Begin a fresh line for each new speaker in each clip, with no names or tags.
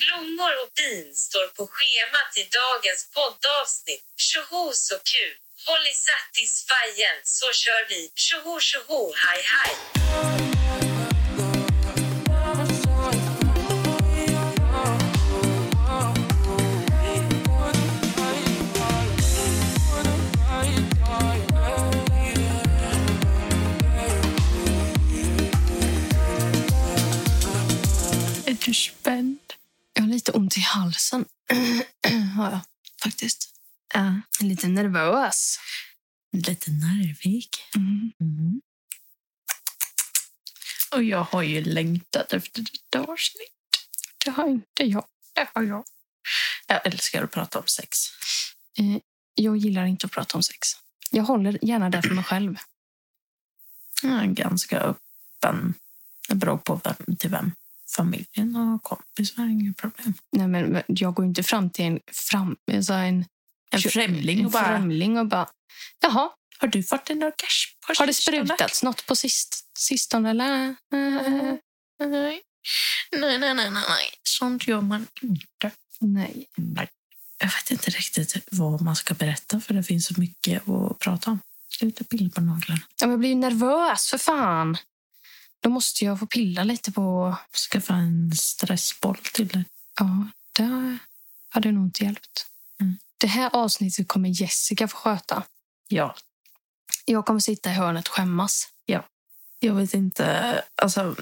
Blommor och bin står på schemat i dagens poddavsnitt. Tjoho så kul! Håll isär i svajen så kör vi! Tjoho tjoho haj haj!
Är du spänd? Jag har lite ont i halsen. har jag faktiskt. Ja. Lite nervös.
Lite nervig.
Mm.
Mm.
Och jag har ju längtat efter detta avsnitt. Det har inte jag. Det har jag. Jag älskar att prata om sex. Eh, jag gillar inte att prata om sex. Jag håller gärna det för mig själv.
Jag är ganska öppen. Det beror på vem, till vem. Familjen och kompisar, inget problem.
Nej, men jag går ju inte fram till en, fram, alltså en,
En
Tjo-
främling
en
och bara...
främling och bara... Jaha,
Har du fått en orgasm? på
har det
sistone?"
sprutats något på sist, sistone? Eller?
Nej. Nej, nej, nej, nej, nej. Sånt gör man inte.
Nej.
Nej. Jag vet inte riktigt vad man ska berätta för det finns så mycket att prata om. Sluta pilla på naglarna.
Ja, men jag blir ju nervös, för fan. Då måste jag få pilla lite på...
Skaffa en stressboll till dig.
Ja, det hade nog inte hjälpt.
Mm.
Det här avsnittet kommer Jessica få sköta.
Ja,
Jag kommer sitta i hörnet och skämmas.
Jag vet inte. Alltså,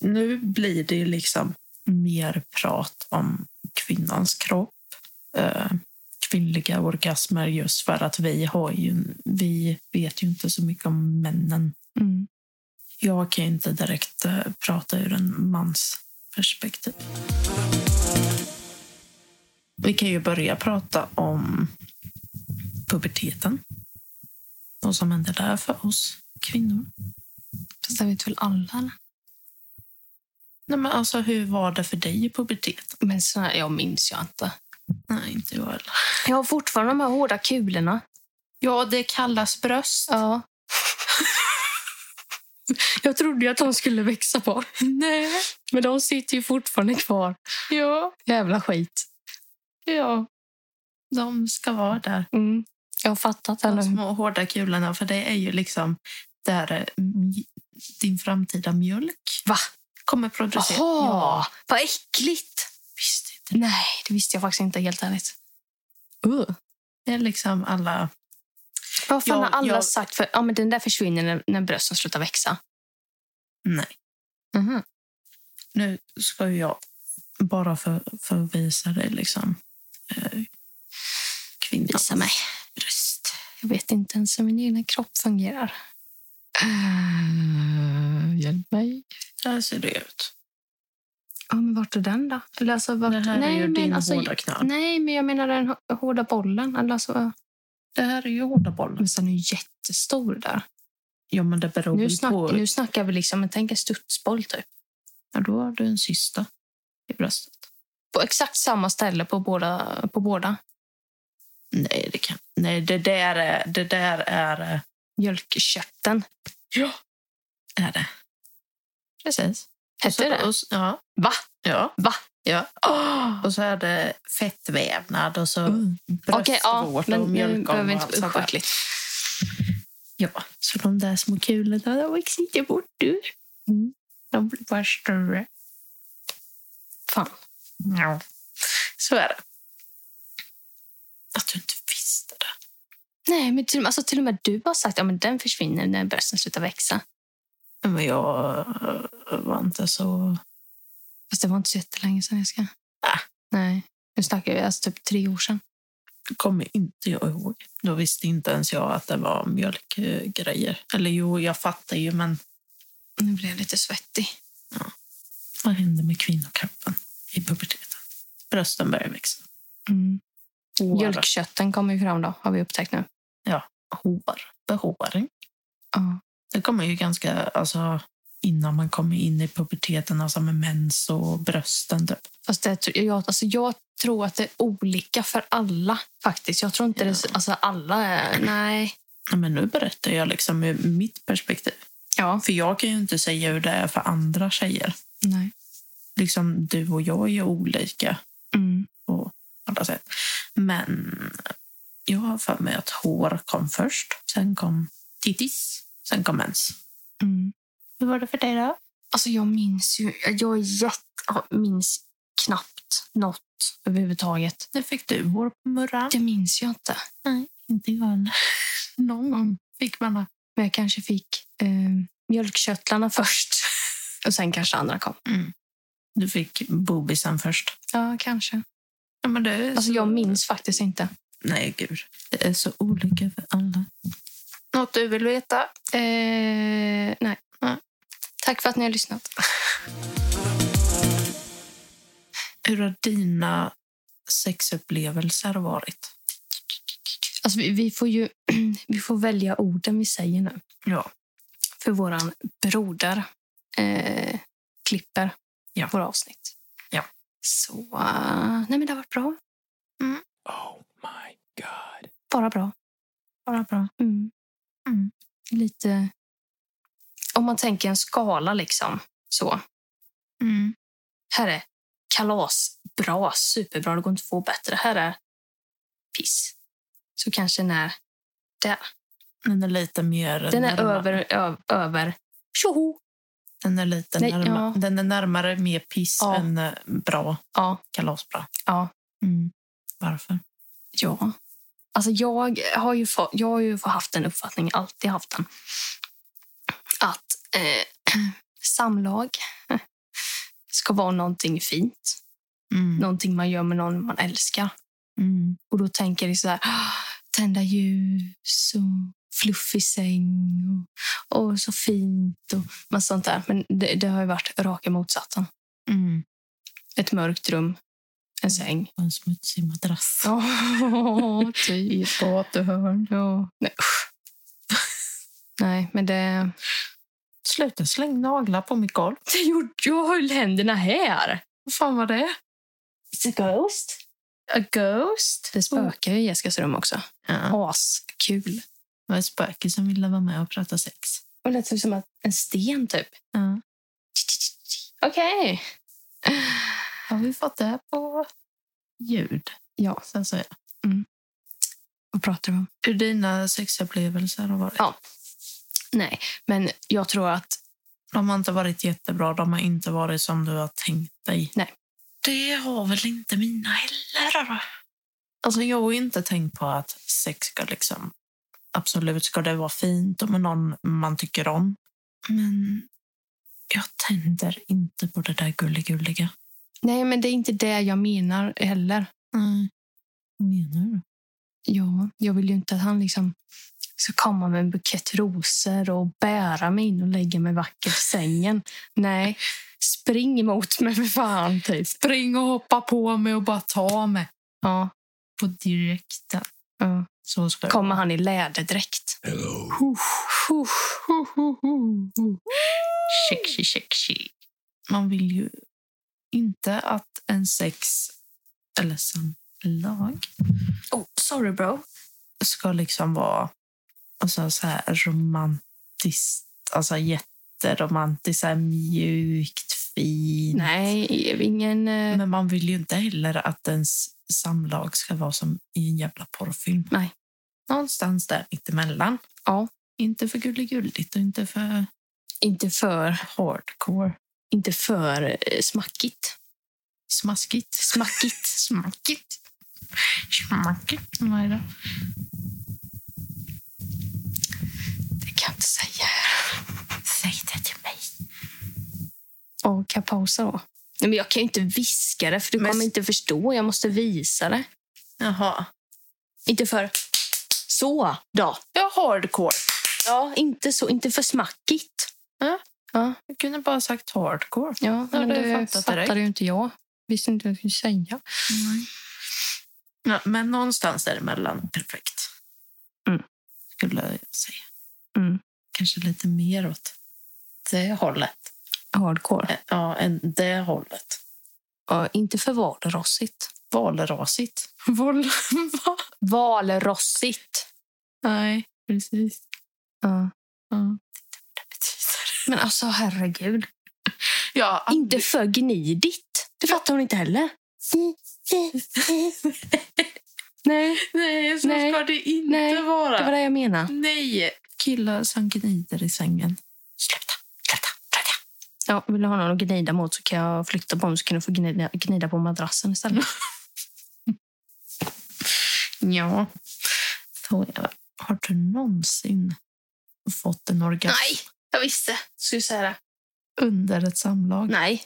nu blir det ju liksom mer prat om kvinnans kropp. Eh, kvinnliga orgasmer just för att vi, har ju, vi vet ju inte så mycket om männen.
Mm.
Jag kan ju inte direkt eh, prata ur en mans perspektiv. Vi kan ju börja prata om puberteten. Vad som händer där för oss kvinnor.
Fast det vet väl alla? eller?
Nej, men alltså, hur var det för dig i puberteten?
Men så här, jag minns ju inte.
Nej, inte jag heller.
Jag har fortfarande de här hårda kulorna.
Ja, det kallas bröst.
Ja. jag trodde ju att de skulle växa på.
Nej.
Men de sitter ju fortfarande kvar.
Ja,
Jävla skit.
ja. De ska vara där.
Mm. Jag har fattat det
De
nu.
små hårda kulorna, för det är ju liksom där eh, mj- din framtida mjölk
Va?
kommer producera.
Jaha,
Ja,
vad äckligt!
visst inte.
Nej, det visste jag faktiskt inte helt ärligt. Uh.
Det är liksom alla...
Vad fan
Ja,
har alla
jag-
sagt? För, ja, men den där försvinner när, när brösten slutar växa.
Nej.
Mhm.
Nu ska ju jag bara för, för att visa dig liksom... Eh, kvinnans
Visa mig.
bröst.
Jag vet inte ens hur min egna kropp fungerar. Eh, hjälp mig.
Där ser det ut.
Ja, men vart är den då? Eller alltså, vart...
Det här
nej,
är ju
men
din
alltså,
hårda knöl.
Nej, men jag menar den hå- hårda bollen. Eller alltså,
Det här är ju hårda bollen.
men sen är ju jättestor där.
Ja, men det beror
Nu,
väl
snack,
på...
nu snackar vi liksom, men tänk en studsboll typ.
Ja, då har du en cysta i bröstet.
På exakt samma ställe på båda. På båda.
Nej, det kan... Nej, det där är... Det där är... eh,
Mjölkkörteln.
Ja. Är det. Precis.
Hette det?
Och s- ja.
Va?
Ja.
Va?
Ja.
Oh.
Och så är det fettvävnad och så
Okej,
bröstvårta
ja, men
och
nu
mjölkomma.
behöver vi inte
och allt
usch
sånt
vad
där.
äckligt.
Ja, så de där små kulorna, de växer inte bort du.
Mm.
De blir bara större.
Fan.
Ja. Så är det. Att du inte visste det.
Nej, men till, alltså, till och med du har sagt att ja, men den försvinner när brösten slutar växa.
Men jag eh, var inte så...
Fast det var inte så jättelänge sedan jag ska.
Ah.
Nej, nu snackar vi alltså typ tre år sedan.
kommer inte jag ihåg. Då visste inte ens jag att det var mjölkgrejer. Eller jo, jag fattar ju, men
Nu blir jag lite svettig.
vad händer med kvinnokroppen i puberteten? Brösten börjar växa.
Mm.
Hår.
Mjölkkötten kommer ju fram då, har vi upptäckt nu.
Hår. Behåring.
Ja.
Det kommer ju ganska... Alltså, innan man kommer in i puberteten, alltså med mens och brösten. Typ.
Fast det, tror jag, alltså, jag tror att det är olika för alla faktiskt. Jag tror inte det är så- alltså, alla är... Nej.
Ja, Men nu berättar jag liksom ur mitt perspektiv.
Ja.
För jag kan ju inte säga hur det är för andra tjejer.
Nej.
liksom du och jag är olika
Mm.
på alla sätt. Men jag har för mig att hår kom först. Sen kom tittis. Sen kom mens.
Mm.
Hur var det för dig då?
Alltså jag minns ju, jag är jätte, jag minns knappt något överhuvudtaget.
När fick du hår på murran?
Det minns jag inte.
Typ Inte jag.
Någon gång fick man det. Men jag kanske fick eh, mjölkköttlarna först. Och sen kanske andra kom.
Du fick bobisen först.
Ja, kanske.
Ja, men det är
Alltså
så-
jag minns faktiskt inte.
Nej, gud. Det är så olika för alla. Något du vill veta?
Eh, nej.
Nej.
Tack för att ni har lyssnat.
Hur har dina sexupplevelser varit?
Alltså vi, vi får ju vi får välja orden vi säger nu.
Ja.
För våran broder eh, klipper
Ja.
våra avsnitt.
Ja.
Så eh, nej men det har varit bra. Mm.
Oh my god.
Bara bra.
Bara bra.
Mm.
Mm.
Lite... Om man tänker en skala liksom. Så.
Mm.
Här är kalas. Bra. Superbra. Det går inte att få bättre. Här är piss. Så kanske den är...
Den är lite mer...
Den är
närmare-
över... Ö, över. Tjoho!
Den är, lite
Nej,
närma,
ja.
den är närmare mer piss
Ja.
än eh, bra
Ja.
kalasbra.
Ja.
Mm. Varför?
Ja. Alltså jag har ju, få, jag har ju få haft en uppfattning, alltid haft den, att eh, samlag ska vara någonting fint.
Mm.
Någonting man gör med någon man älskar.
Mm.
Och då tänker jag så här, "Ah, tända ljus och fluffig säng och, och så fint och massa sånt där. Men det, det har ju varit raka motsatsen.
Mm.
Ett mörkt rum, en säng.
Och En smutsig madrass.
Ja, typ.
I ett gatuhörn.
Ja. Nej, usch. Nej, men det...
Sluta släng naglar på mitt golv.
Det gjorde jag höll händerna här.
Vad fan var det?
It's a ghost. A ghost? Det spökar ju i Jessicas rum också.
Oh, Ja.
Askul.
Det var ett spöke som ville vara med och prata sex.
Och det lät som att en sten, typ.
Ja.
Okej.
Har vi fått det på ljud?
Ja.
Så att säga.
Vad pratar du om?
Hur dina sexupplevelser har varit?
Ja. Nej, men jag tror att...
De har inte varit jättebra. De har inte varit som du har tänkt dig.
Nej.
Det har väl inte mina heller. då. Alltså jag har ju inte tänkt på att sex ska liksom... Absolut ska det vara fint och med någon man tycker om. Men jag tänder inte på det där gulligulliga.
Nej, men det är inte det jag menar heller.
Nej. Vad menar du?
Ja, jag vill ju inte att han liksom ska komma med en bukett rosor och bära mig in och lägga mig vackert i sängen. Nej, spring emot mig för fan. Typ.
Spring och hoppa på mig och bara ta mig.
Ja,
På direkten.
ja.
Så ska det
Kommer han i läderdräkt?
Hello.
Sexy, sexy. Man vill ju inte att en sex eller samlag
Oh, sorry bro.
ska liksom vara alltså, så här romantiskt, alltså jätteromantiskt, så här mjukt, fint.
Nej, ingen... eh,
Men man vill ju inte heller att ens samlag ska vara som i en jävla porrfilm.
Nej.
Någonstans där mittemellan.
Ja.
Inte för gulligulligt och inte för
Inte för,
hardcore.
inte för eh, smackigt.
Smaskigt. Smackigt. Smackigt. Smackigt. Vad är det?
Det kan jag inte säga.
Säg det till mig.
Och kan jag pausa då? Nej, men jag kan ju inte viska det, för du
Men-
kommer inte förstå. Jag måste visa det.
Jaha.
Inte för så då.
Ja, hardcore.
Ja, inte så. Inte för smackigt.
Jag kunde bara ha sagt hardcore.
Ja,
men
det
det fattat
fattade
direkt.
ju inte jag. Visste inte vad jag skulle säga.
Ja, men någonstans däremellan. Perfekt.
Mm.
Skulle jag säga.
Mm.
Kanske lite mer åt det hållet.
Hardcore.
Ä- Ja, än det hållet.
Eh, Ja, inte för valrossigt.
Valrasigt. Val... Va?
Valrossigt.
Nej, precis.
Ja.
Ja.
Men alltså, herregud.
Jag har aldrig-
Inte för gnidigt. Det fattar hon inte heller. Nej,
Nej, så
Nej.
ska det inte
Nej,
vara.
det var det jag menade.
Nej! Killar som gnider i sängen.
Sluta, sluta, sluta. Ja, vill du ha någon att gnida mot så kan jag flytta på mig så kan du få gnida, gnida på madrassen istället.
Ja. Så, ja. har du någonsin fått en orgasm
jag visste. Skulle säga det.
under ett samlag?
Nej,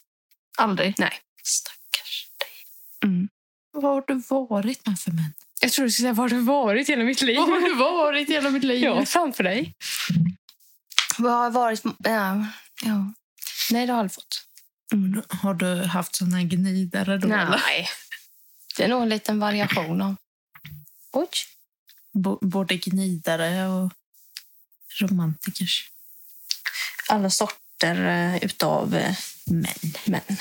Aldrig?
Nej.
Stackars dig.
Mm.
Vad har du varit med för män?
jag tror du skulle säga var har du varit hela mitt liv?
Vad har du varit hela mitt liv?
Ja, framför dig. Vad har varit... Ja. ja. Nej, det har jag aldrig fått.
Mm. Har du haft såna här gnidare då? eller?
Nej. Det är nog en liten variation av... Oj.
B- både gnidare och romantikers.
Alla sorter eh, utav eh, män. män.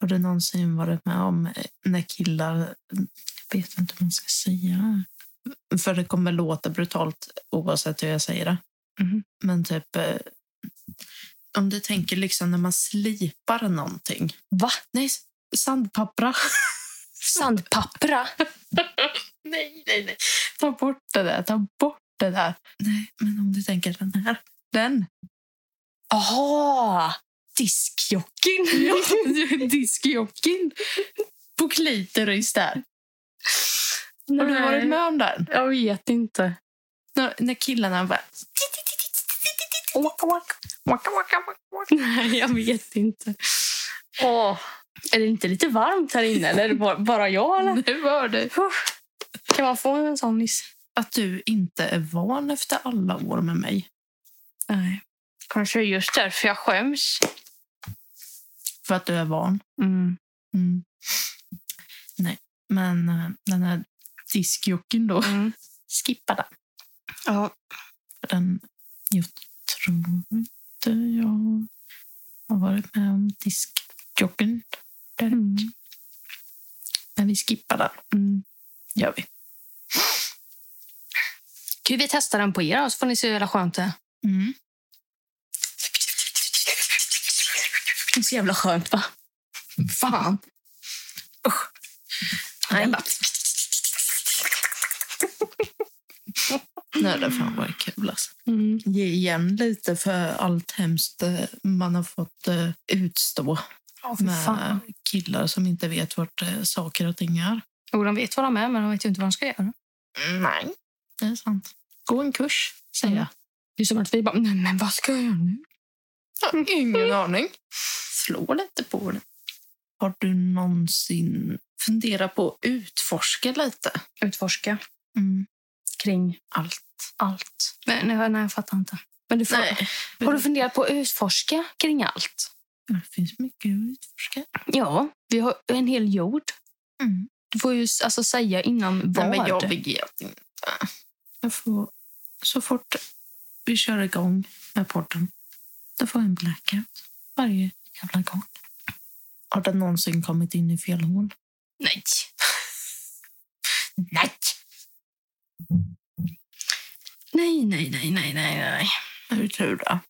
Har du någonsin varit med om eh, när killar... Jag vet inte hur man ska säga. För det kommer låta brutalt oavsett hur jag säger det.
Mhm.
Men typ... eh, Om du tänker liksom när man slipar någonting.
Va?
Nej, s- sandpappra.
Sandpappra?
nej, nej, nej. Ta bort det där. Ta bort det där. Nej, men om du tänker den här. Den.
Aha! Diskjockeyn?
Ja, diskjocken på klitoris där. Har du varit med om den?
Jag vet inte.
När, när killarna bara...
Nej, jag vet inte. Åh. Är det inte lite varmt här inne? Eller är det bara, bara jag? Eller?
Nu var det.
Kan man få en sån nyss?
Att du inte är van efter alla år med mig.
Nej. Kanske just därför jag skäms.
För att du är van.
Mm.
Mm. Nej, men eh, den här diskjocken då.
Mm.
Skippa den.
Ja.
För Den, jag tror inte jag har varit med om diskjocken.
Mm.
Men vi skippar den.
Mm.
Gör vi.
Gud, vi testar den på er då, så får ni se hur jävla skönt det är.
Mm.
Det är så jävla skönt, va? Fan. Usch. Nej.
Nu är det fan varit kul alltså.
Mm.
Ge igen lite för allt hemskt eh, man har fått eh, utstå
Ja,
med killar som inte vet vart eh, saker och ting är.
Jo, de vet vad de är, men de vet ju inte vad de ska göra.
Nej. Det är sant. Gå en kurs, säger
Mm.
jag.
Det är som att vi bara, nej men vad ska jag göra nu?
Ingen aning. Mm. Slå lite på det. Har du någonsin funderat på att utforska lite?
Utforska
Mm.
kring
Allt.
allt. Men, nej, nej, jag fattar inte. Men du får,
Nej.
Har du funderat på att utforska kring allt?
Det finns mycket att utforska.
Ja, vi har en hel jord.
Mm.
Du får ju s- alltså, säga innan vad.
Nej, men jag vet inte. Jag får, så fort vi kör igång med podden, då får jag en blackout varje jävla gång. Har den någonsin kommit in i fel hål?
Nej.
Nej!
Nej, nej, nej, nej, nej, nej.
Det är ju tur det.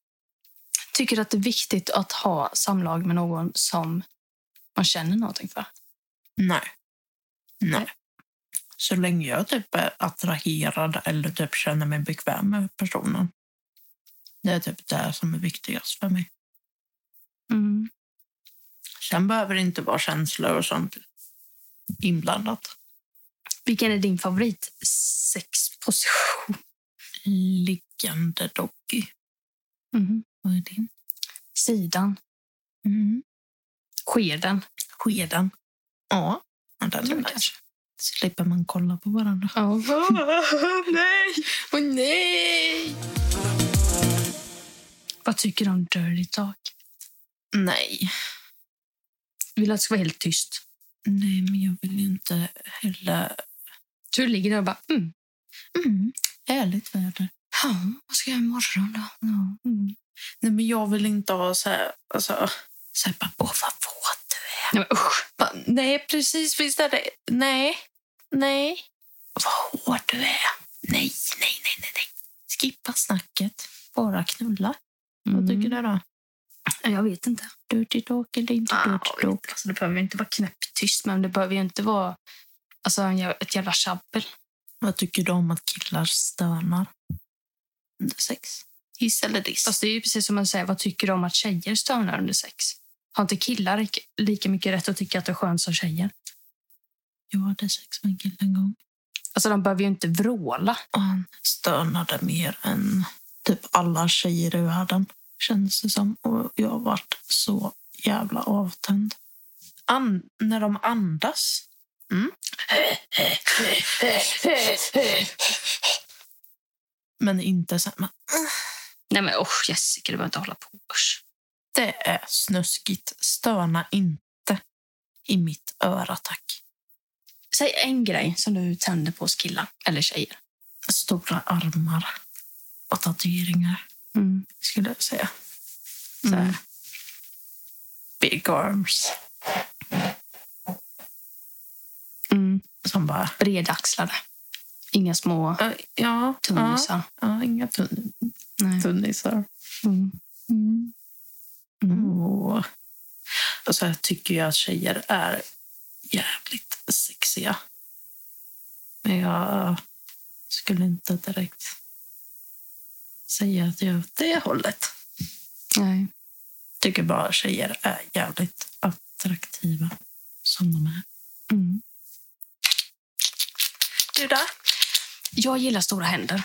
Tycker du att det är viktigt att ha samlag med någon som man känner någonting för?
Nej. Nej. Så länge jag typ är attraherad eller typ känner mig bekväm med personen. Det är typ det som är viktigast för mig.
Mm.
Sen behöver det inte vara känslor och sånt inblandat.
Vilken är din favorit sexposition?
Liggande doggy.
Mhm.
Vad är din?
Sidan?
Mm.
Skeden?
Skeden. Ja, men den är
Tror jag
nice.
kanske.
Slipper man kolla på varandra.
Ja.
nej! Åh nej!
Vad tycker du om dirty talk?
Nej.
Vill du att det ska vara helt tyst?
Nej, men jag vill ju inte heller...
Så du ligger där och bara, mm.
Mm. Ärligt väder.
Ja, vad ska jag göra imorgon då? Ja. Mm.
Nej, men jag vill inte ha så här... Alltså, så här bara, åh vad våt du är.
Nej, men usch.
Bara, Nej, precis. Visst är det... Nej. Nej. Vad hård du är. Nej, nej, nej,
Mm.
nej, nej. Skippa snacket. Bara knulla. Vad tycker du då?
Jag vet inte.
Dirty talk eller inte
Ah,
dirty talk.
Alltså, det behöver inte vara knäpptyst, men det behöver ju inte vara alltså, en jä- ett jävla tjabbel.
Vad tycker du om att killar stönar? Under sex? Hiss eller diss?
Fast det är ju precis som man säger, vad tycker du om att tjejer stönar under sex? Har inte killar rik- lika mycket rätt att tycka att det är skönt som tjejer?
jag hade sex med en kille en gång.
Alltså de behöver ju inte vråla.
Och han stönade mer än typ alla tjejer i världen. Känns det som. Och jag har varit så jävla avtänd. An- när de andas. Mm. Men inte så här, men
Nej men usch Jessica, du behöver inte hålla på. Usch.
det är snuskigt. Stöna inte i mitt öra, tack.
Säg en grej som du tänder på hos killar eller tjejer.
Stora armar och tatueringar,
Mm.
skulle jag säga. Så
Mm.
här. Big arms.
Mm.
Som bara...
Bredaxlade. Inga små
"Eh, Ja, ja,
tunnisar.
ja inga tun-
Nej.
tunnisar.
Mm.
Mm. Åh. Och så här tycker jag att tjejer är jävligt sexiga. Men jag skulle inte direkt säga att jag är åt det hållet.
Nej.
Tycker bara tjejer är jävligt attraktiva som de är.
Mm.
Du då?
Jag gillar stora händer.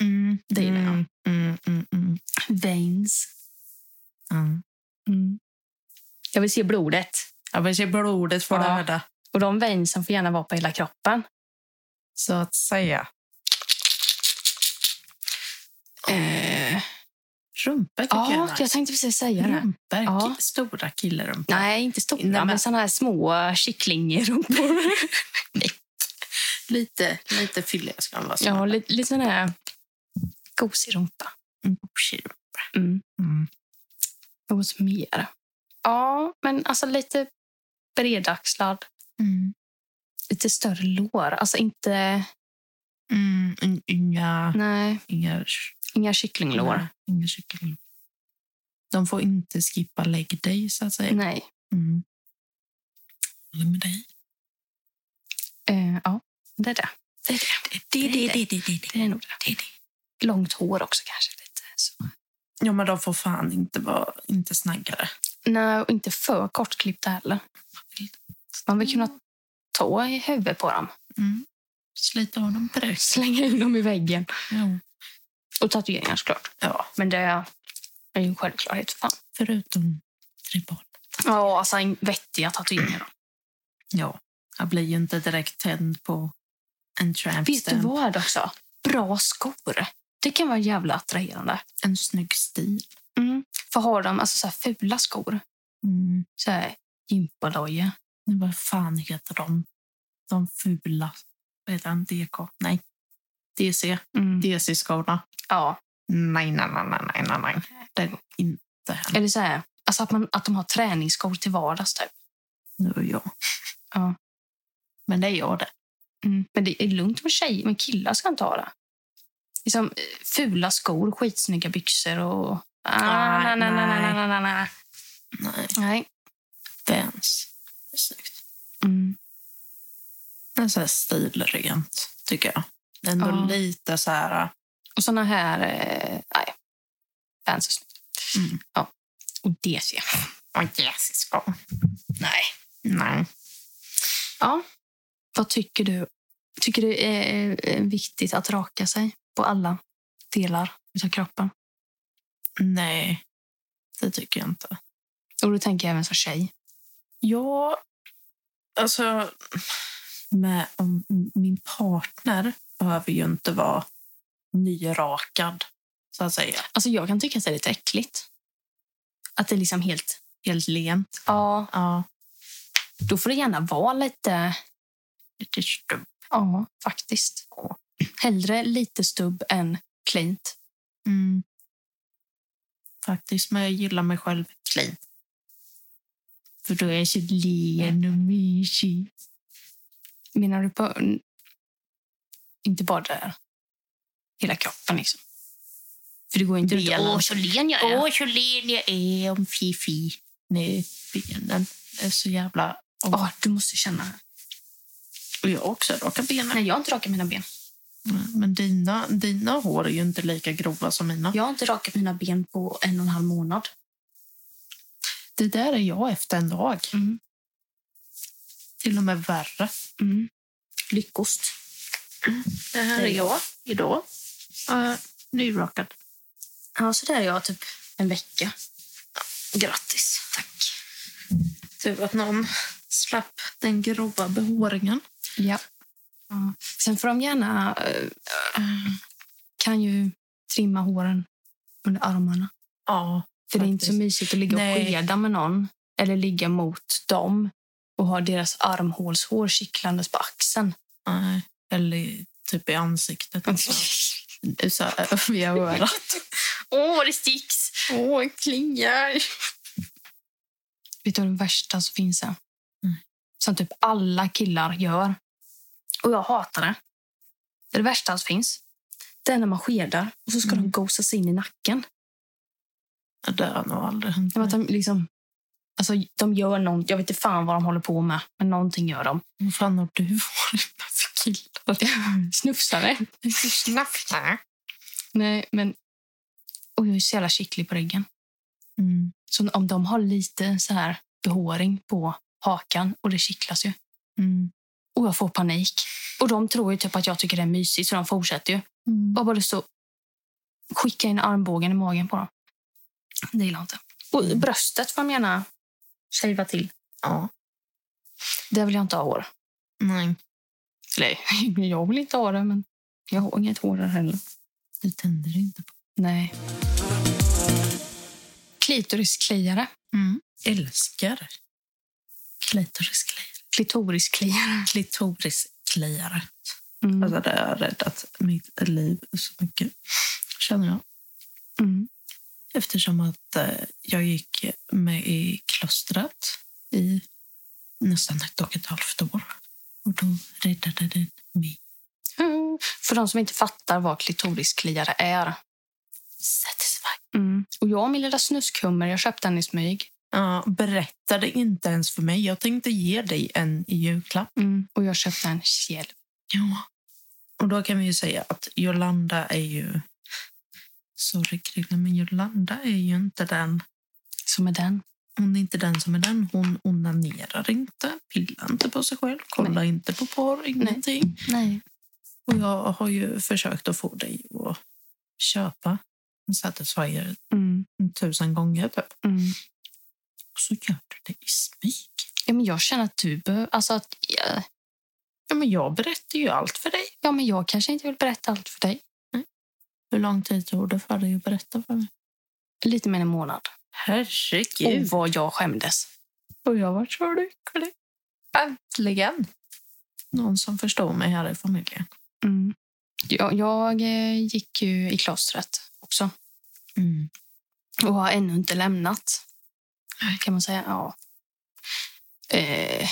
Mm,
det gillar jag.
mm, mm, mm, mm,
Veins.
mm.
Mm. Jag vill se blodet.
Jag vill se blodet för
Ja.
det här.
Och de veinsen får gärna vara på hela kroppen.
Så att säga.
Eh,
Rumpor tycker jag är
ja,
nice.
Ah, jag tänkte precis säga det.
Rumpor,
Ja.
ki- stora killrumpor.
Nej, inte stora,
Nej, men-
men såna här små kycklingrumpor.
Lite, lite fylliga ska de vara.
ja, lite, lite sån här gosig rumpa.
Gosig.
Mm.
Mm.
Något mer? Ja, men alltså lite bredaxlad.
Mm.
Lite större lår. Alltså inte...
Mm. in- Inga...
Nej,
Inga,
inga kycklinglår.
Nej, inga kycklinglår. De får inte skippa leg day, så att säga.
Nej.
Mm. Håller med dig.
Eh, ja, det är det. Det är det.
Det,
det, det,
det,
Det är nog det. Långt hår också kanske. lite så.
Ja, men de får fan inte vara inte snaggare.
Nej, och inte för kortklippta heller. Man vill kunna ta i huvudet på dem.
Mm. Slita av dem direkt.
Slänga in dem i väggen.
Ja.
Och tatueringar såklart.
ja,
Men det är ju en självklarhet för fan.
förutom tribal.
Ja, alltså en vettiga tatueringar. då.
Ja, jag blir ju inte direkt tänd på en tramp
Vet du
stamp.
vad också? Bra skor. Det kan vara jävla attraherande.
En snygg stil.
För har de alltså så här fula skor,
Mm.
så här gympalojor.
Men Vad fan heter de? De fula. Vad heter han? DK? Nej. DC.
Mm.
DC-skorna.
Ja.
Nej, nej, nej, nej, nej, nej, nej. Det går inte hem.
Eller så här, alltså att, man, att de har träningsskor till vardags. Typ.
Nu är jag.
Ja.
Men det är jag det.
Men det är lugnt med tjejer, men killar ska inte ha det. Liksom, eh, fula skor, skitsnygga byxor och... Ah, nej, nej, nej, nej, nej, nej, nej.
Nej.
nej.
Vans. Det är snyggt.
Mm.
Det är så här stilrent, tycker jag. Det är ändå
Ja.
lite så här...
Och såna här... Eh, nej. Vans är snyggt.
Mm.
Ja. Och DC.
Åh, Jesus. Ja.
Nej.
Nej.
Vad tycker du? Tycker du är eh, viktigt att raka sig på alla delar av kroppen?
Nej, det tycker jag inte.
Och då tänker jag även som tjej.
Ja, alltså... Med, om, min partner behöver ju inte vara nyrakad, så att säga.
Alltså jag kan tycka att det är lite äckligt. Att det är liksom helt...
Helt lent.
Ja,
Ja.
då får det gärna vara lite...
Lite stubb.
Ja, faktiskt. Hellre lite stubb än klint.
Mm. Faktiskt, men jag gillar mig själv clean. För då är jag så len och mysig.
Menar du på... Inte bara där. Hela kroppen liksom. För det går inte runt
Benen.
åh så len jag är.
Åh, så len jag är om fifi. Nej, benen är så jävla...
Åh, du måste känna.
Och jag har också raka benen.
Nej, jag har inte rakat mina ben.
Men dina, dina hår är ju inte lika grova som mina.
Jag har inte rakat mina ben på en och en halv månad.
Det där är jag efter en dag.
Mm.
Till och med värre.
Mm. Lyckost.
Det här är jag idag. Uh, nyrakad.
Ja, så där är jag typ en vecka. Grattis. Tack.
Tur att någon slapp den grova behåringen.
Ja. ja. Sen får de gärna... eh, eh, kan ju trimma håren under armarna.
Ja,
För det är inte så
Faktiskt.
mysigt att ligga och
Nej.
skeda med någon eller ligga mot dem och ha deras armhålshår kittlandes på axeln.
nej. Eller i- typ i ansiktet. Alltså. Så här, via örat.
Åh, vad det sticks!
Åh, klingar!
Vet du vad det värsta som finns här?
Mm.
Som typ alla killar gör. Och jag hatar det. Det är det värsta som finns. Det är när man skedar och så ska
Mm.
de gosa sig in i nacken.
Det har nog aldrig hänt.
Jag vet,
mig.
de, liksom, alltså, de gör något, jag vet inte fan vad de håller på med, men någonting gör de.
Vad fan har du varit med för killar?
Mm. Snufsare.
Snabbt.
Nej, men... Och jag är så jävla kittlig på ryggen.
Mm.
Så om de har lite så här behåring på hakan, och det kittlas ju.
Mm.
Och jag får panik. Och de tror ju typ att jag tycker det är mysigt, så de fortsätter ju.
Mm.
Jag bara så skicka in armbågen i magen på dem. Det gillar jag inte. Och bröstet får de gärna shava till.
Ja.
Där vill jag inte ha hår.
Nej,
Eller jag vill inte ha det, men jag har inget hår där heller.
du tänder inte på.
Nej. Klitoriskliare.
Mm. Älskar klitoriskliare.
Klitoriskliare.
Klitoriskliare.
Mm.
Alltså det har räddat mitt liv så mycket, känner jag.
Mm.
Eftersom att eh, jag gick med i klostret i nästan ett och ett halvt år. Och då räddade den mig.
Mm. För de som inte fattar vad klitoriskliare är.
Satisfy.
Mm. Och jag och min lilla snuskummer, jag köpte den i smyg.
Ja, berättade inte ens för mig. Jag tänkte ge dig en i julklapp.
Och jag köpte en själv.
Ja. Och då kan vi ju säga att Jolanda är ju... Sorry, Krille, men Jolanda är ju inte den...
Som är den.
Hon är inte den som är den. Hon onanerar inte, pillar inte på sig själv, kollar inte på porr, ingenting.
Nej.
Och jag har ju försökt att få dig att köpa en Satisfyer
Mm.
tusen gånger typ.
Mm.
Och så gör du det i smyg.
Ja, men jag känner att du behöver... Alltså att, ja,
Ja, men jag berättar ju allt för dig.
ja, men jag kanske inte vill berätta allt för dig.
Hur lång tid tog det för dig att berätta för mig?
Lite mer än en månad.
Herregud.
Och vad jag skämdes.
Och jag var så lycklig. Äntligen! Någon som förstår mig här i familjen.
Mm. Jag, jag eh, gick ju i klostret också. och har ännu inte lämnat. Kan man säga. Ja. Eh,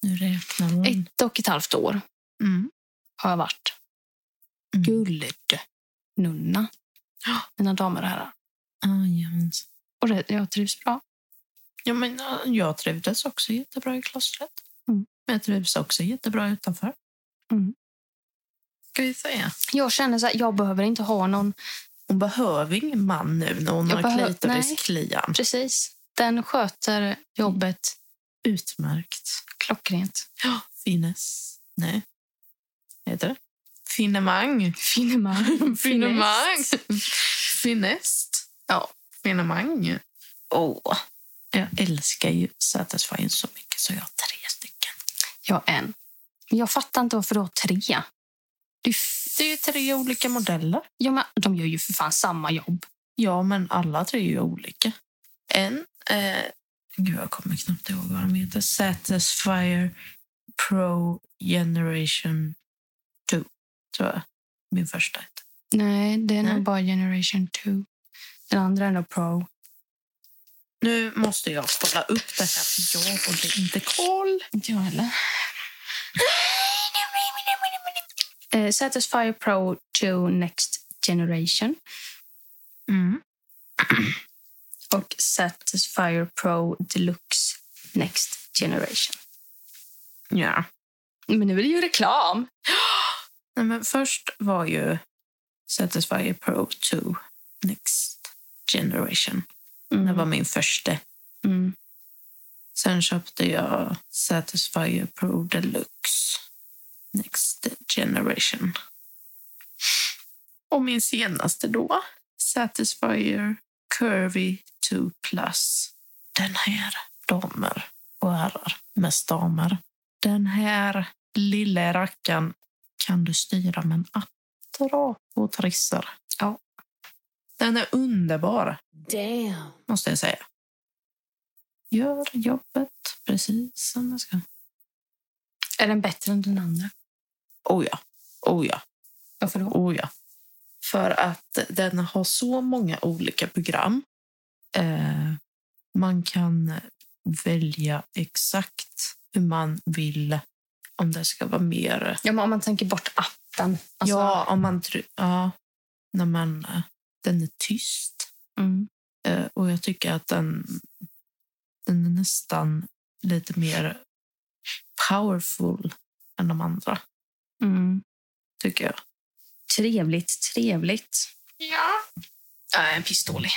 Nu räknar hon.
ett och ett halvt år
Mm.
har jag varit
Mm.
guldnunna.
Ja.
Mina damer och herrar.
Mm. Jajamensan.
Och det, jag trivs bra.
Ja, men, äh, jag trivdes också jättebra i klostret.
Mm.
Men jag trivs också jättebra utanför.
Mm.
Ska vi säga.
Jag känner så här, jag behöver inte ha någon...
Hon behöver ingen man nu när hon
Jag
har
behö-
klitorisklian.
Precis. Den sköter jobbet
Utmärkt.
klockrent.
Finnes. Nej. Heter det? Finemang.
Finemang.
Finemang. Finest.
Ja.
Finemang. Åh. Jag älskar ju Satisfying så mycket så jag har tre stycken.
Jag en. Men jag fattar inte varför du har tre. Du,
Det är ju tre olika modeller.
ja, men de gör ju för fan samma jobb.
Ja, men alla tre är ju olika. En... Eh, gud, jag kommer knappt ihåg vad de heter. Satisfyer Pro Generation 2, tror jag. Min första hette.
Nej, det är
Nej.
nog bara Generation 2. Den andra är nog Pro.
Nu måste jag kolla upp det här, för jag håller inte koll.
Inte jag heller. Eh, Satisfyer Pro 2 Next Generation. Och Satisfyer Pro Deluxe Next Generation.
Ja.
Men nu är det ju reklam!
Nej, men först var ju Satisfyer Pro 2 Next Generation. Det var min första.
Mm.
Sen köpte jag Satisfyer Pro Deluxe Next Generation. Och min senaste då, Satisfyer Curvy 2 Plus. Den här, damer och herrar, mest damer. Den här lilla rackaren kan du styra med en app. Dra och trissar.
Ja.
Den är underbar
Damn.
måste jag säga. Gör jobbet precis som det ska.
Är den bättre än den andra?
Oh ja, oh ja,
Varför då?
oh ja. För att den har så många olika program. Eh, man kan välja exakt hur man vill. Om det ska vara mer...
Ja, men om man tänker bort appen. Alltså,
ja, om man... try- Ja, när man... eh, Den är tyst.
Mm.
Eh, Och jag tycker att den, den är nästan lite mer powerful än de andra,
Mm.
tycker jag.
Trevligt, trevligt. Ja. Äh, en pistolig.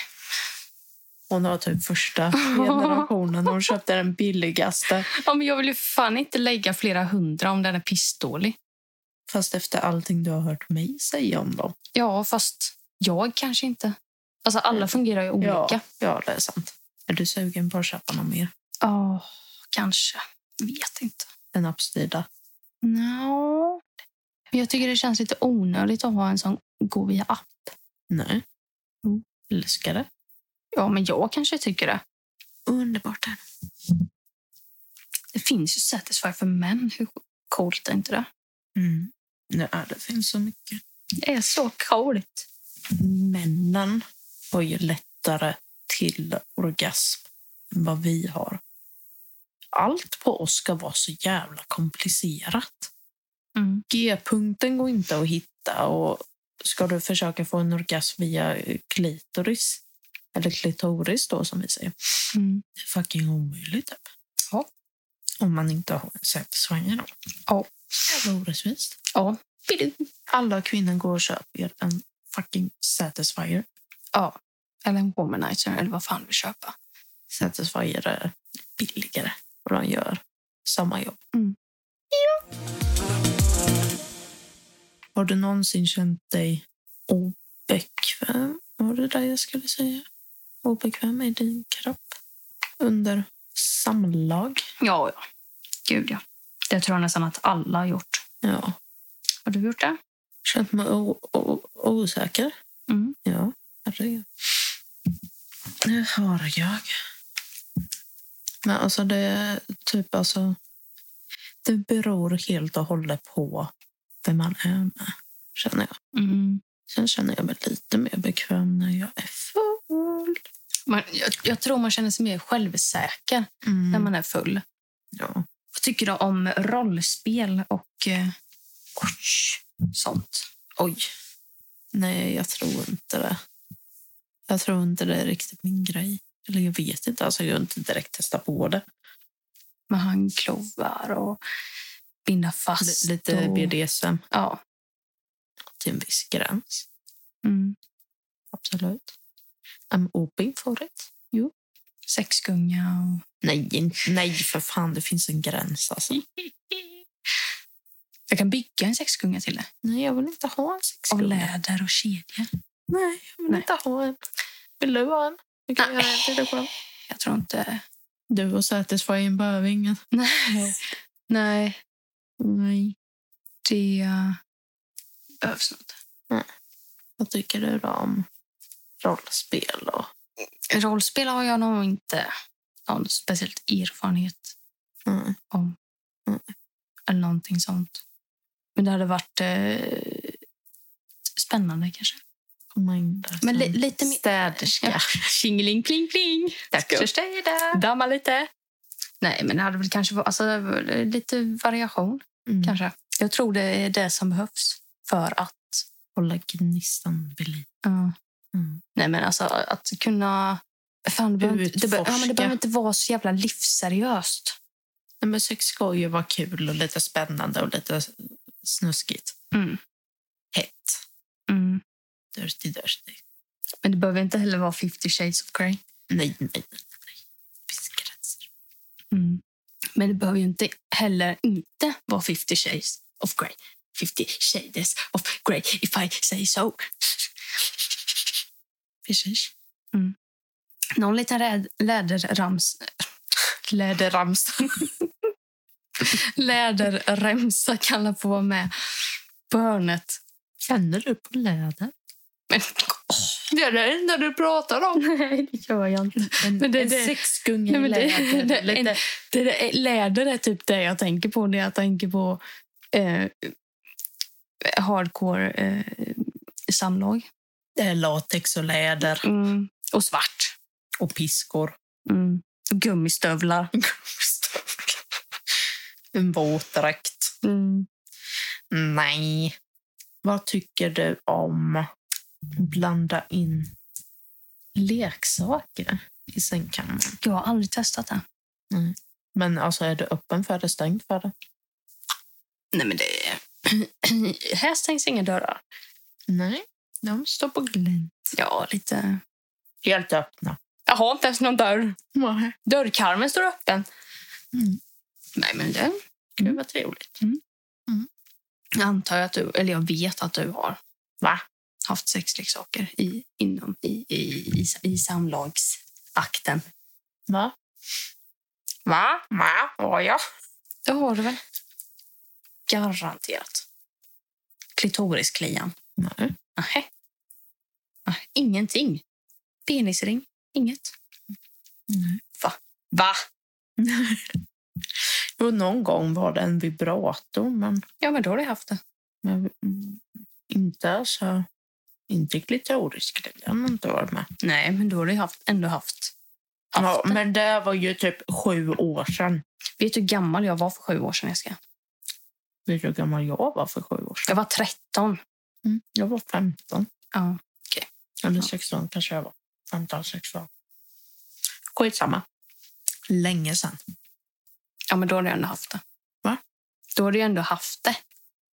Hon har typ första generationen. Hon köpte den billigaste.
Ja, men jag vill ju fan inte lägga flera hundra om den är pissdålig.
Fast efter allting du har hört mig säga om dem.
Ja, fast jag kanske inte. Alltså alla fungerar ju olika.
Ja, det är sant. Är du sugen på att köpa någon mer?
Ja, kanske. Vet inte.
Den appstyrda?
No. Men jag tycker det känns lite onödigt att ha en sån gå via app.
Nej.
Mm.
Älskar det.
Ja, men jag kanske tycker det.
Underbart. Här.
Det finns ju Satisfy för män. Hur coolt är inte det?
Mm. Nej, det finns så mycket.
Det är så coolt.
männen har ju lättare till orgasm än vad vi har. Allt på oss ska vara så jävla komplicerat.
Mm.
G-punkten går inte att hitta och ska du försöka få en orgasm via eh, klitoris, eller klitoris då som vi säger,
Mm.
det är fucking omöjligt. Typ.
Ja.
Om man inte har en sätesvanger då.
Ja.
Jävla orättvist.
Ja. Bidu.
Alla kvinnor går och köper en fucking satisfier.
Ja. Eller en womanizer eller vad fan vi köper.
Satisfyer är billigare och de gör samma jobb.
Mm.
Har du någonsin känt dig obekväm? Var det där jag skulle säga? Obekväm i din kropp under samlag?
Ja, ja. Gud, ja. Det tror jag nästan att alla har gjort.
Ja.
Har du gjort det?
Känt mig o- o- osäker?
Mm.
Ja, herregud. Det har jag. Men alltså det är typ alltså... Det beror helt och hållet på vem man är med, känner jag.
Mm.
Sen känner jag mig lite mer bekväm när jag är full.
Man, jag, jag tror man känner sig mer självsäker när
Mm.
man är full.
Ja.
Vad tycker du om rollspel och eh, oj, sånt?
Oj. Nej, jag tror inte det. Jag tror inte det är riktigt min grej. Eller jag vet inte, alltså jag har inte direkt testat på det.
Med handklovar och binda fast.
L- lite
och,
BDSM
Ja.
till en viss gräns.
Mm.
Absolut. I'm open for it.
Sexgunga och...
Nej, in- nej för fan. Det finns en gräns. Alltså.
Jag kan bygga en sexgunga till det.
Nej, jag vill inte ha en
Av
sexgubbe.
läder och kedja.
Nej, jag vill
Nej.
inte ha en. Vill du ha en? Du kan
Nej.
göra en till dig själv.
Jag tror inte...
Du och Satisfying behöver ingen.
Nej. Nej,
Nej.
det behövs något.
Vad tycker du då om rollspel? Och...
Rollspel har jag nog inte någon speciellt erfarenhet
Mm.
om.
Mm.
Eller någonting sånt. Men det hade varit eh, spännande kanske.
Komma in där som
Men li- lite mer-
städerska.
Ja. Tjingeling, pling, pling.
Ska-
Damma lite. Nej, men det hade väl kanske varit alltså, lite variation.
Mm.
kanske. Jag tror det är det som behövs för att...
Hålla gnistan vid liv.
ja.
Mm.
Nej, men alltså att kunna... Fan, det, behöver inte, det, be- ja, men det
Utforska.
behöver inte vara så jävla livsseriöst.
Nej, men sex ska ju vara kul och lite spännande och lite snuskigt.
Mm.
Hett. Dirty, dirty.
Men det behöver inte heller vara 50 shades of grey.
Nej, nej, nej. Finns gränser.
Mm. Men det behöver ju inte heller inte vara 50 shades of grey. 50 shades of grey, if I say so.
Precis.
Mm. Någon liten räd- läderrams... Läderrams. Läderremsa kan jag få vara med på hörnet.
Känner du på läder?
Men, det är det enda du pratar om. Nej, det gör jag inte.
En,
Men det-
en
det-
sexgunga
Nej,
i
men
läder.
det- det-
lite,
en- Det, det, läder är typ det jag tänker på. Det jag tänker på eh, hardcore eh, samlag.
det är latex och läder
Och svart.
och piskor.
Mm. Gummistövlar.
en våtdräkt.
Mm.
Nej. Vad tycker du om att blanda in leksaker i sängkammaren?
Jag har aldrig testat det.
Men alltså, är du öppen för det, stängd för det?
Nej, men det... Här stängs inga dörrar.
Nej, de står på glänt.
Ja, lite...
Helt öppna.
Jag har inte ens någon dörr.
Nej.
Dörrkarmen står öppen.
Mm.
Nej, men det
Gud vad trevligt. Mm.
antar jag att du... Eller jag vet att du har
Va?
haft sexleksaker i, inom, i, i, i, i samlagsakten.
Va?
Va?
Va? Ja, ja.
Det har du väl? Garanterat. Klitorisklian?
Nej.
Nähä. Ah, Ingenting. Penisring? Inget.
Nej.
Va? Va?
Jo, någon gång var det en vibrator, men,
Ja, men då har du haft det.
men mm, inte alltså... Inte klitorisklian har inte varit med.
Nej, men då har du haft, ändå haft. haft
Ja,
det.
men det var ju typ sju år sedan.
Vet du hur gammal jag var för sju år sedan? Jag, ska?
Vet du hur gammal jag var för sju år sedan?
jag var 13.
Mm, jag var 15.
Ja.
Eller 16 kanske jag var. 15, 16. Skitsamma. Länge sedan.
ja, men då har du ändå haft det.
Va?
Då har du ändå haft det.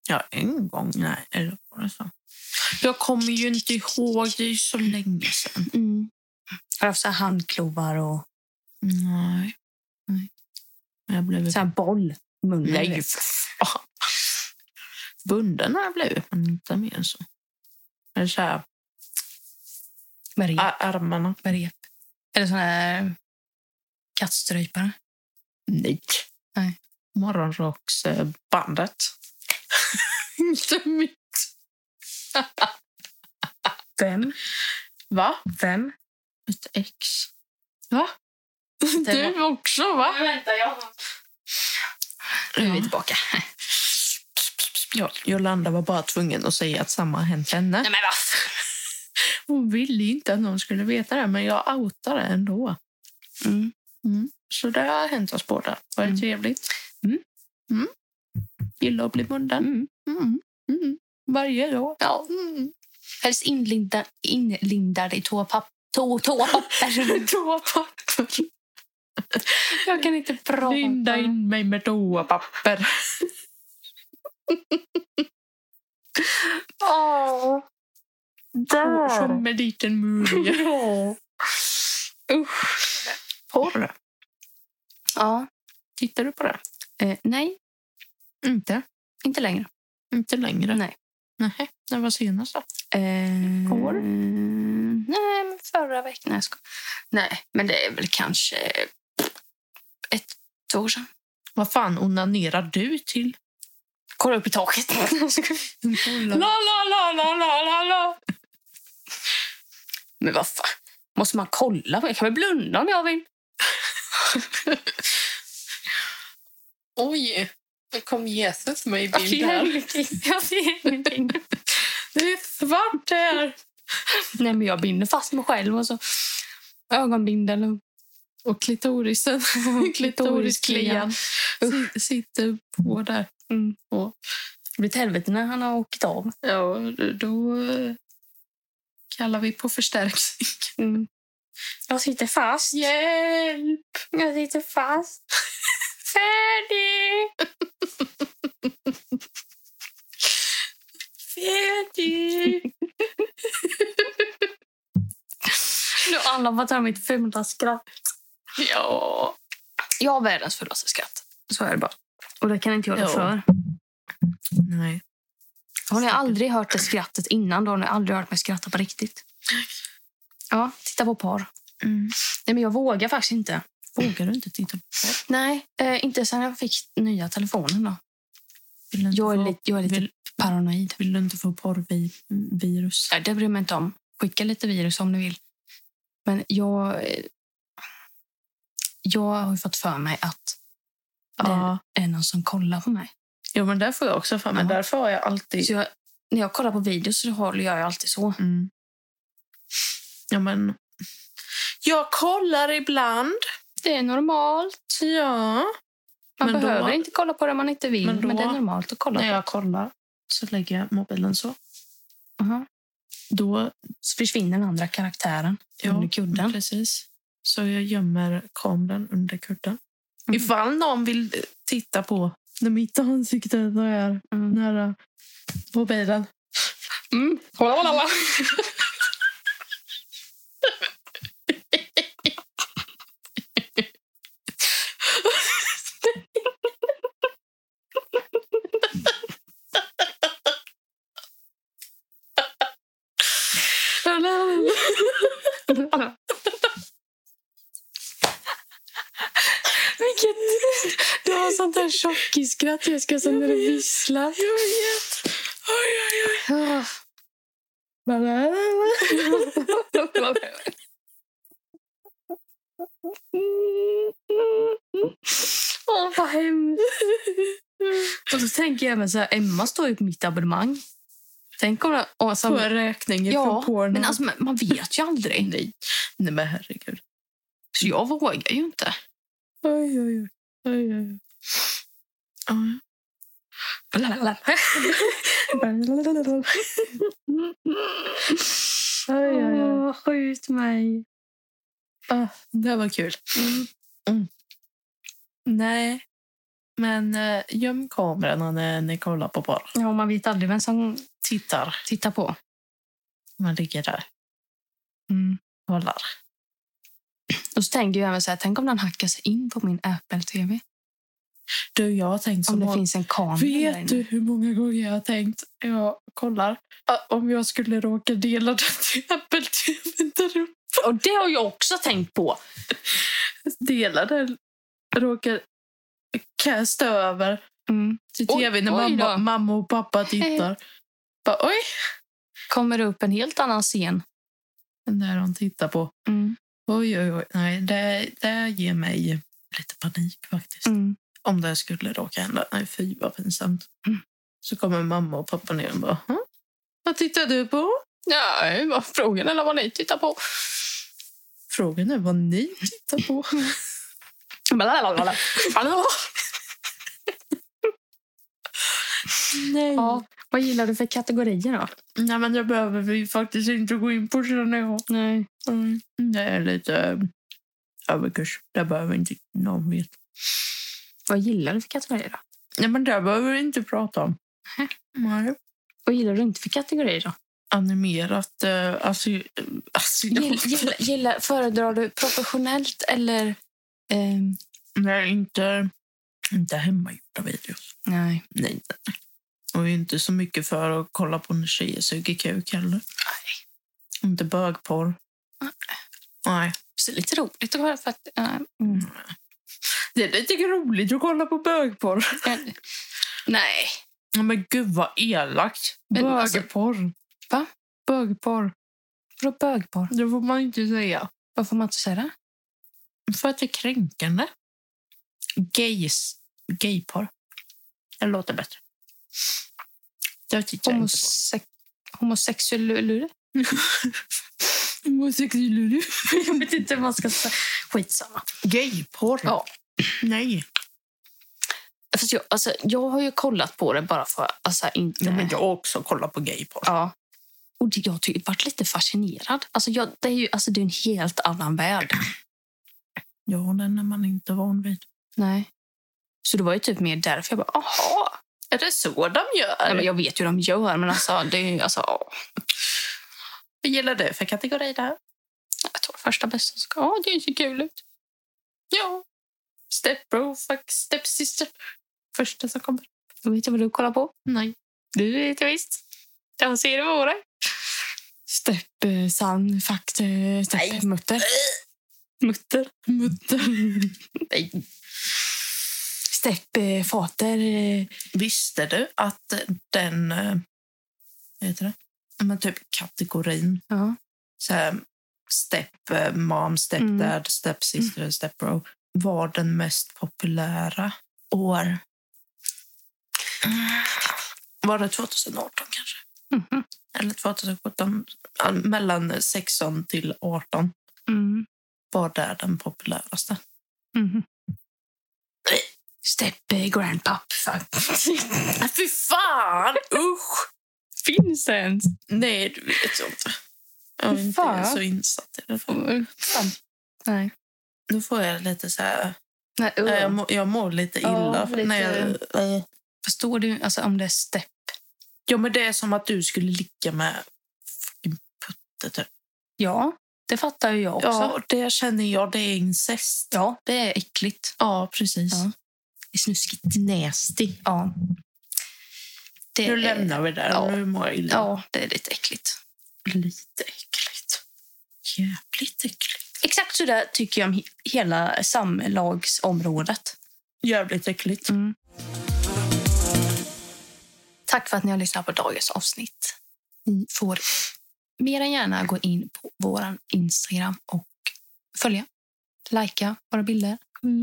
Ja, en gång. Nej, eller var det så? Jag kommer ju inte ihåg. Det är ju så länge sedan.
Har du haft så här handklovar och
Nej. Nej. Jag blev...
så här boll i munnen? liksom?
Nej,
du
för
vet.
fan. Bunden har jag blivit, men inte mer än så. Eller så här,
Med rep.
a- armarna.
Med rep. Eller sån här kattstrypare.
Nej.
Nej.
Morgonrocksbandet.
Inte mitt. Vem?
Va?
Vem?
Ett ex. Va? Du också, va?
Vänta, jag... Nu är vi tillbaka.
Ja, Jolanda var bara tvungen att säga att samma har hänt henne.
Nej, men vad
Hon ville ju inte att någon skulle veta det, men jag outade ändå.
Mm.
Så det har hänt oss båda. Var det
Mm.
trevligt?
Mm.
Mm. Gillar att bli bunden.
Mm.
Mm. Mm. Varje dag.
Ja.
Mm.
Helst inlindad, inlindad i toapapp, to, toapapper.
Toapapper.
jag kan inte prata.
Linda in mig med toapapper.
Åh.
Och
Där.
Som en liten mumie.
Usch.
Porr.
Ja.
Tittar du på det?
Eh, nej,
Inte.
inte längre.
Inte längre?
Nej.
Nej. När var senast då?
Eh,
Går?
Nej, men förra veckan. Nej, jag skojar. nej, men det är väl kanske ett, två år sedan.
Vad fan onanerar du till?
Kolla upp i taket.
Mm.
la, la, la, la, la, la, la. Men vad fan. Måste man kolla? Jag kan väl blunda om jag vill.
Oj, nu kom Jesus med i
Jag ser ingenting. Jag ser ingenting.
Det är svart här.
Nej, men jag binder fast mig själv och så ögonbindeln och
Och klitorisen, klitorisklian, si- sitter på där.
Mm.
Och,
Det blir ett helvete när han har åkt av.
ja, då eh, kallar vi på förstärkning.
Mm.
Jag sitter fast. Hjälp! Jag sitter fast. Färdig! Färdig! Nu har alla fått höra mitt fula skratt.
Ja. Jag har världens fullaste skratt. Så är det bara. Och det kan inte jag rå
Ja.
för.
Nej.
Har ni aldrig hört det skrattet innan, då har ni aldrig hört mig skratta på riktigt. Ja, titta på par.
Mm.
Nej, men jag vågar faktiskt inte.
Vågar du inte titta på
Nej, eh, inte sen jag fick nya telefonen. Då.
vill du inte
Jag är
få-
lite, jag är lite
vill-
paranoid.
Vill du inte få porrvirus?
Nej, det bryr jag mig inte om. Skicka lite virus om ni vill. Men jag... eh, Jag har ju fått för mig att
Ja.
det är någon som kollar på mig.
Eh, Jo, men där får jag också för mig.
Ja.
Därför har jag alltid...
Så jag, när jag kollar på videos så håller jag ju alltid så.
Mm. Ja, men... Jag kollar ibland.
Det är normalt.
Ja.
Man
Men då-
behöver inte kolla på det om man inte vill.
Men
Men,
då-
det är normalt att kolla
När
på.
jag kollar så lägger jag mobilen så.
Aha.
Då...
Mhm. Så försvinner den andra karaktären under
Ja,
kudden.
precis. Så jag gömmer kameran under kudden.
Mm.
Ifall någon vill eh, titta på när mitt ansikte är
Mm.
nära mobilen.
Mm.
Vilket... Du har sånt där tjockisskratt, Jessica, som när du visslar. Åh, vad hemskt.
Och så tänker jag även så här, Emma står ju på mitt abonnemang. Tänk om det... Och
På
så,
räkningen
ja,
från porno.
men alltså, man- man vet ju aldrig. Nej.
Nej, men herregud.
Så jag vågar ju inte.
Oj, oj, oj. oj, oj. oj. Ja,
Åh, skjut mig.
Ah, det här var kul. Mm. Nej, men eh, göm kamerorna när ni kollar på porr.
Ja, man vet aldrig vem som
Tittar.
tittar på.
Man ligger där
Mm.
kollar.
Och så tänker jag även så här, tänk om den hackar sig in på min Apple-tv.
Du, jag har tänkt så
Om det
många-
finns en kamera där inne.
Vet du hur många gånger jag har tänkt jag kollar ah, om jag skulle råka dela den till Apple-tvn där uppe.
Och det har jag också tänkt på.
Dela den. Råkar kasta över
Mm.
till
Oj,
tv när
oj
mamma,
då.
mamma och pappa tittar. Bara, oj!
Kommer det upp en helt annan scen. Mm.
När de tittar på. Oj, oj, oj. Nej, det, det ger mig lite panik faktiskt.
Mm.
Om det skulle råka hända. Nej, fy vad pinsamt.
Mm.
Så kommer mamma och pappa ner och bara, "Hå? vad tittar du på?
Nej, vad frågan eller vad ni tittar på.
Frågan är vad ni tittar på.
Blablabla.
Nej.
ja, vad gillar du för kategorier då?
Nej, men det behöver vi faktiskt inte gå in på känner jag.
Nej.
Mm. Det är lite eh, överkurs. Det behöver inte någon veta.
Vad gillar du för kategorier då?
Nej, men det behöver vi inte prata om.
Nej.
Nej.
Vad gillar du inte för kategorier då?
Animerat, eh, alltså... eh, alltså
Gill, gillar, gillar, föredrar du professionellt eller... ehm,
Nej, inte, inte hemmagjorda videos.
nej.
Nej, nej, nej. Och inte så mycket för att kolla på när tjejer suger kuk heller. Nej. Inte bögporr.
Nej.
Nej.
Så lite roligt att höra för att... eh, mm. nej.
Det är lite roligt att kolla på bögporr.
nej.
Ja, Men gud vad elakt.
Men alltså-
Bögporr.
Va?
Bögporr.
Vadå bögporr?
Det får man inte säga.
Vad får man inte säga det?
För att det är kränkande. Gays. Gayporr. Det låter bättre. Jag tittar jag inte på.
Homose- Homosexuell...
Homosexuell.
Jag vet inte vad man ska säga. Skitsamma.
Gayporr?
Ja.
Nej.
Fast jag, alltså, jag har ju kollat på det bara för att alltså, inte...
Ja, men jag har också kollat på gayporr.
Ja. Och det- jag tyckte, varit lite fascinerad. Alltså, jag, det är ju alltså, det är en helt annan värld.
Ja, den är man inte van vid.
Nej. Så det var ju typ mer därför jag bara, aha, är det så de gör? Nej, men jag vet ju hur de gör, men alltså, det är ju, alltså, ja.
Vad gillar du för kategori där?
jag tar första bästa. Så, ja, det ser kul ut. Ja.
Stepbro, fuck stepsister. Första som kommer.
Jag vet inte vad du kollar på.
Nej.
Du vet visst. Jag ser det på dig. Stepp, eh, sand, fakt, eh, stepp, mutter. Mutter. Mutter. Nej. Stepp, eh, fater. eh,
Visste du att den... eh, Vad heter det? Ja, Men typ kategorin.
Ja.
Så här, step eh, mom, step
Mm.
dad, step sister, step bro. Var den mest populära år? Mm. Var det 2018 kanske?
Mhm.
Eller 2017? Ja, Mellan 16 till 18
Mm.
var det den populäraste.
Mhm. Stepp, eh, grandpap. Fakt.
Nej, fy fan! Usch!
Finns det ens?
Nej, det vet jag inte. Jag är
Fan.
inte så insatt i det.
Nej.
Då får jag lite så här...
Nej, uh.
Jag, mår, jag mår lite illa.
Ja,
för när
lite-
jag, eh,
Förstår du alltså, om det är stepp?
ja, men det är som att du skulle ligga med fucking Putte. Typ.
Ja, det fattar ju jag också.
Ja, och det känner jag. Det är incest.
Ja, det är äckligt.
Ja, precis.
Ja. Det är snuskigt. Nasty. Ja. Det
Nu
är-
lämnar vi det.
ja.
Nu mår jag illa.
Ja, det är lite äckligt.
Lite äckligt. Jävligt äckligt.
Exakt så där tycker jag om he- hela samlagsområdet.
Jävligt äckligt.
Tack för att ni har lyssnat på dagens avsnitt. Ni får mer än gärna gå in på vår Instagram och följa, likea våra bilder,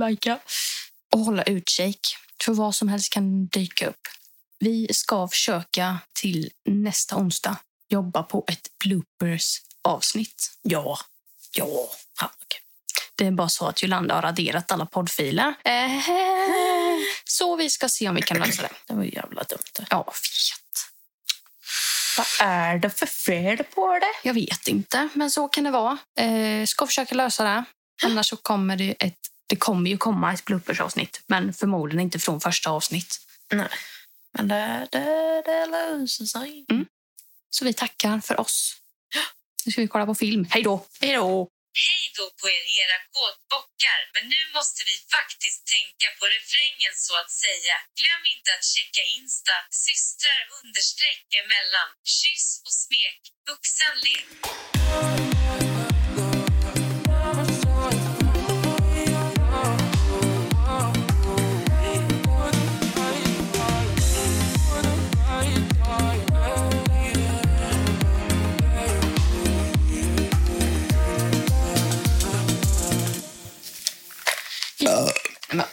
likea och hålla utkik. För vad som helst kan dyka upp. Vi ska försöka till nästa onsdag jobba på ett bloopers-avsnitt.
Ja. Ja. Fan, vad kul.
Det är bara så att Jolanda har raderat alla poddfiler. Eh, Så vi ska se om vi kan lösa det.
Det var jävla dumt.
Ja, fet.
Vad är det för fel på det?
Jag vet inte, men så kan det vara. Eh, ska försöka lösa det. Annars så kommer det ett... Det kommer ju komma ett bloopersavsnitt, men förmodligen inte från första avsnitt.
Men det, det, det löser sig.
Så vi tackar för oss. Nu ska vi kolla på film. Hej då!
Hej då!
Hej då på er era kåtbockar, men nu måste vi faktiskt tänka på refrängen så att säga. Glöm inte att checka Insta, systrar understreck emellan, kyss och smek, vuxenlek.
Men,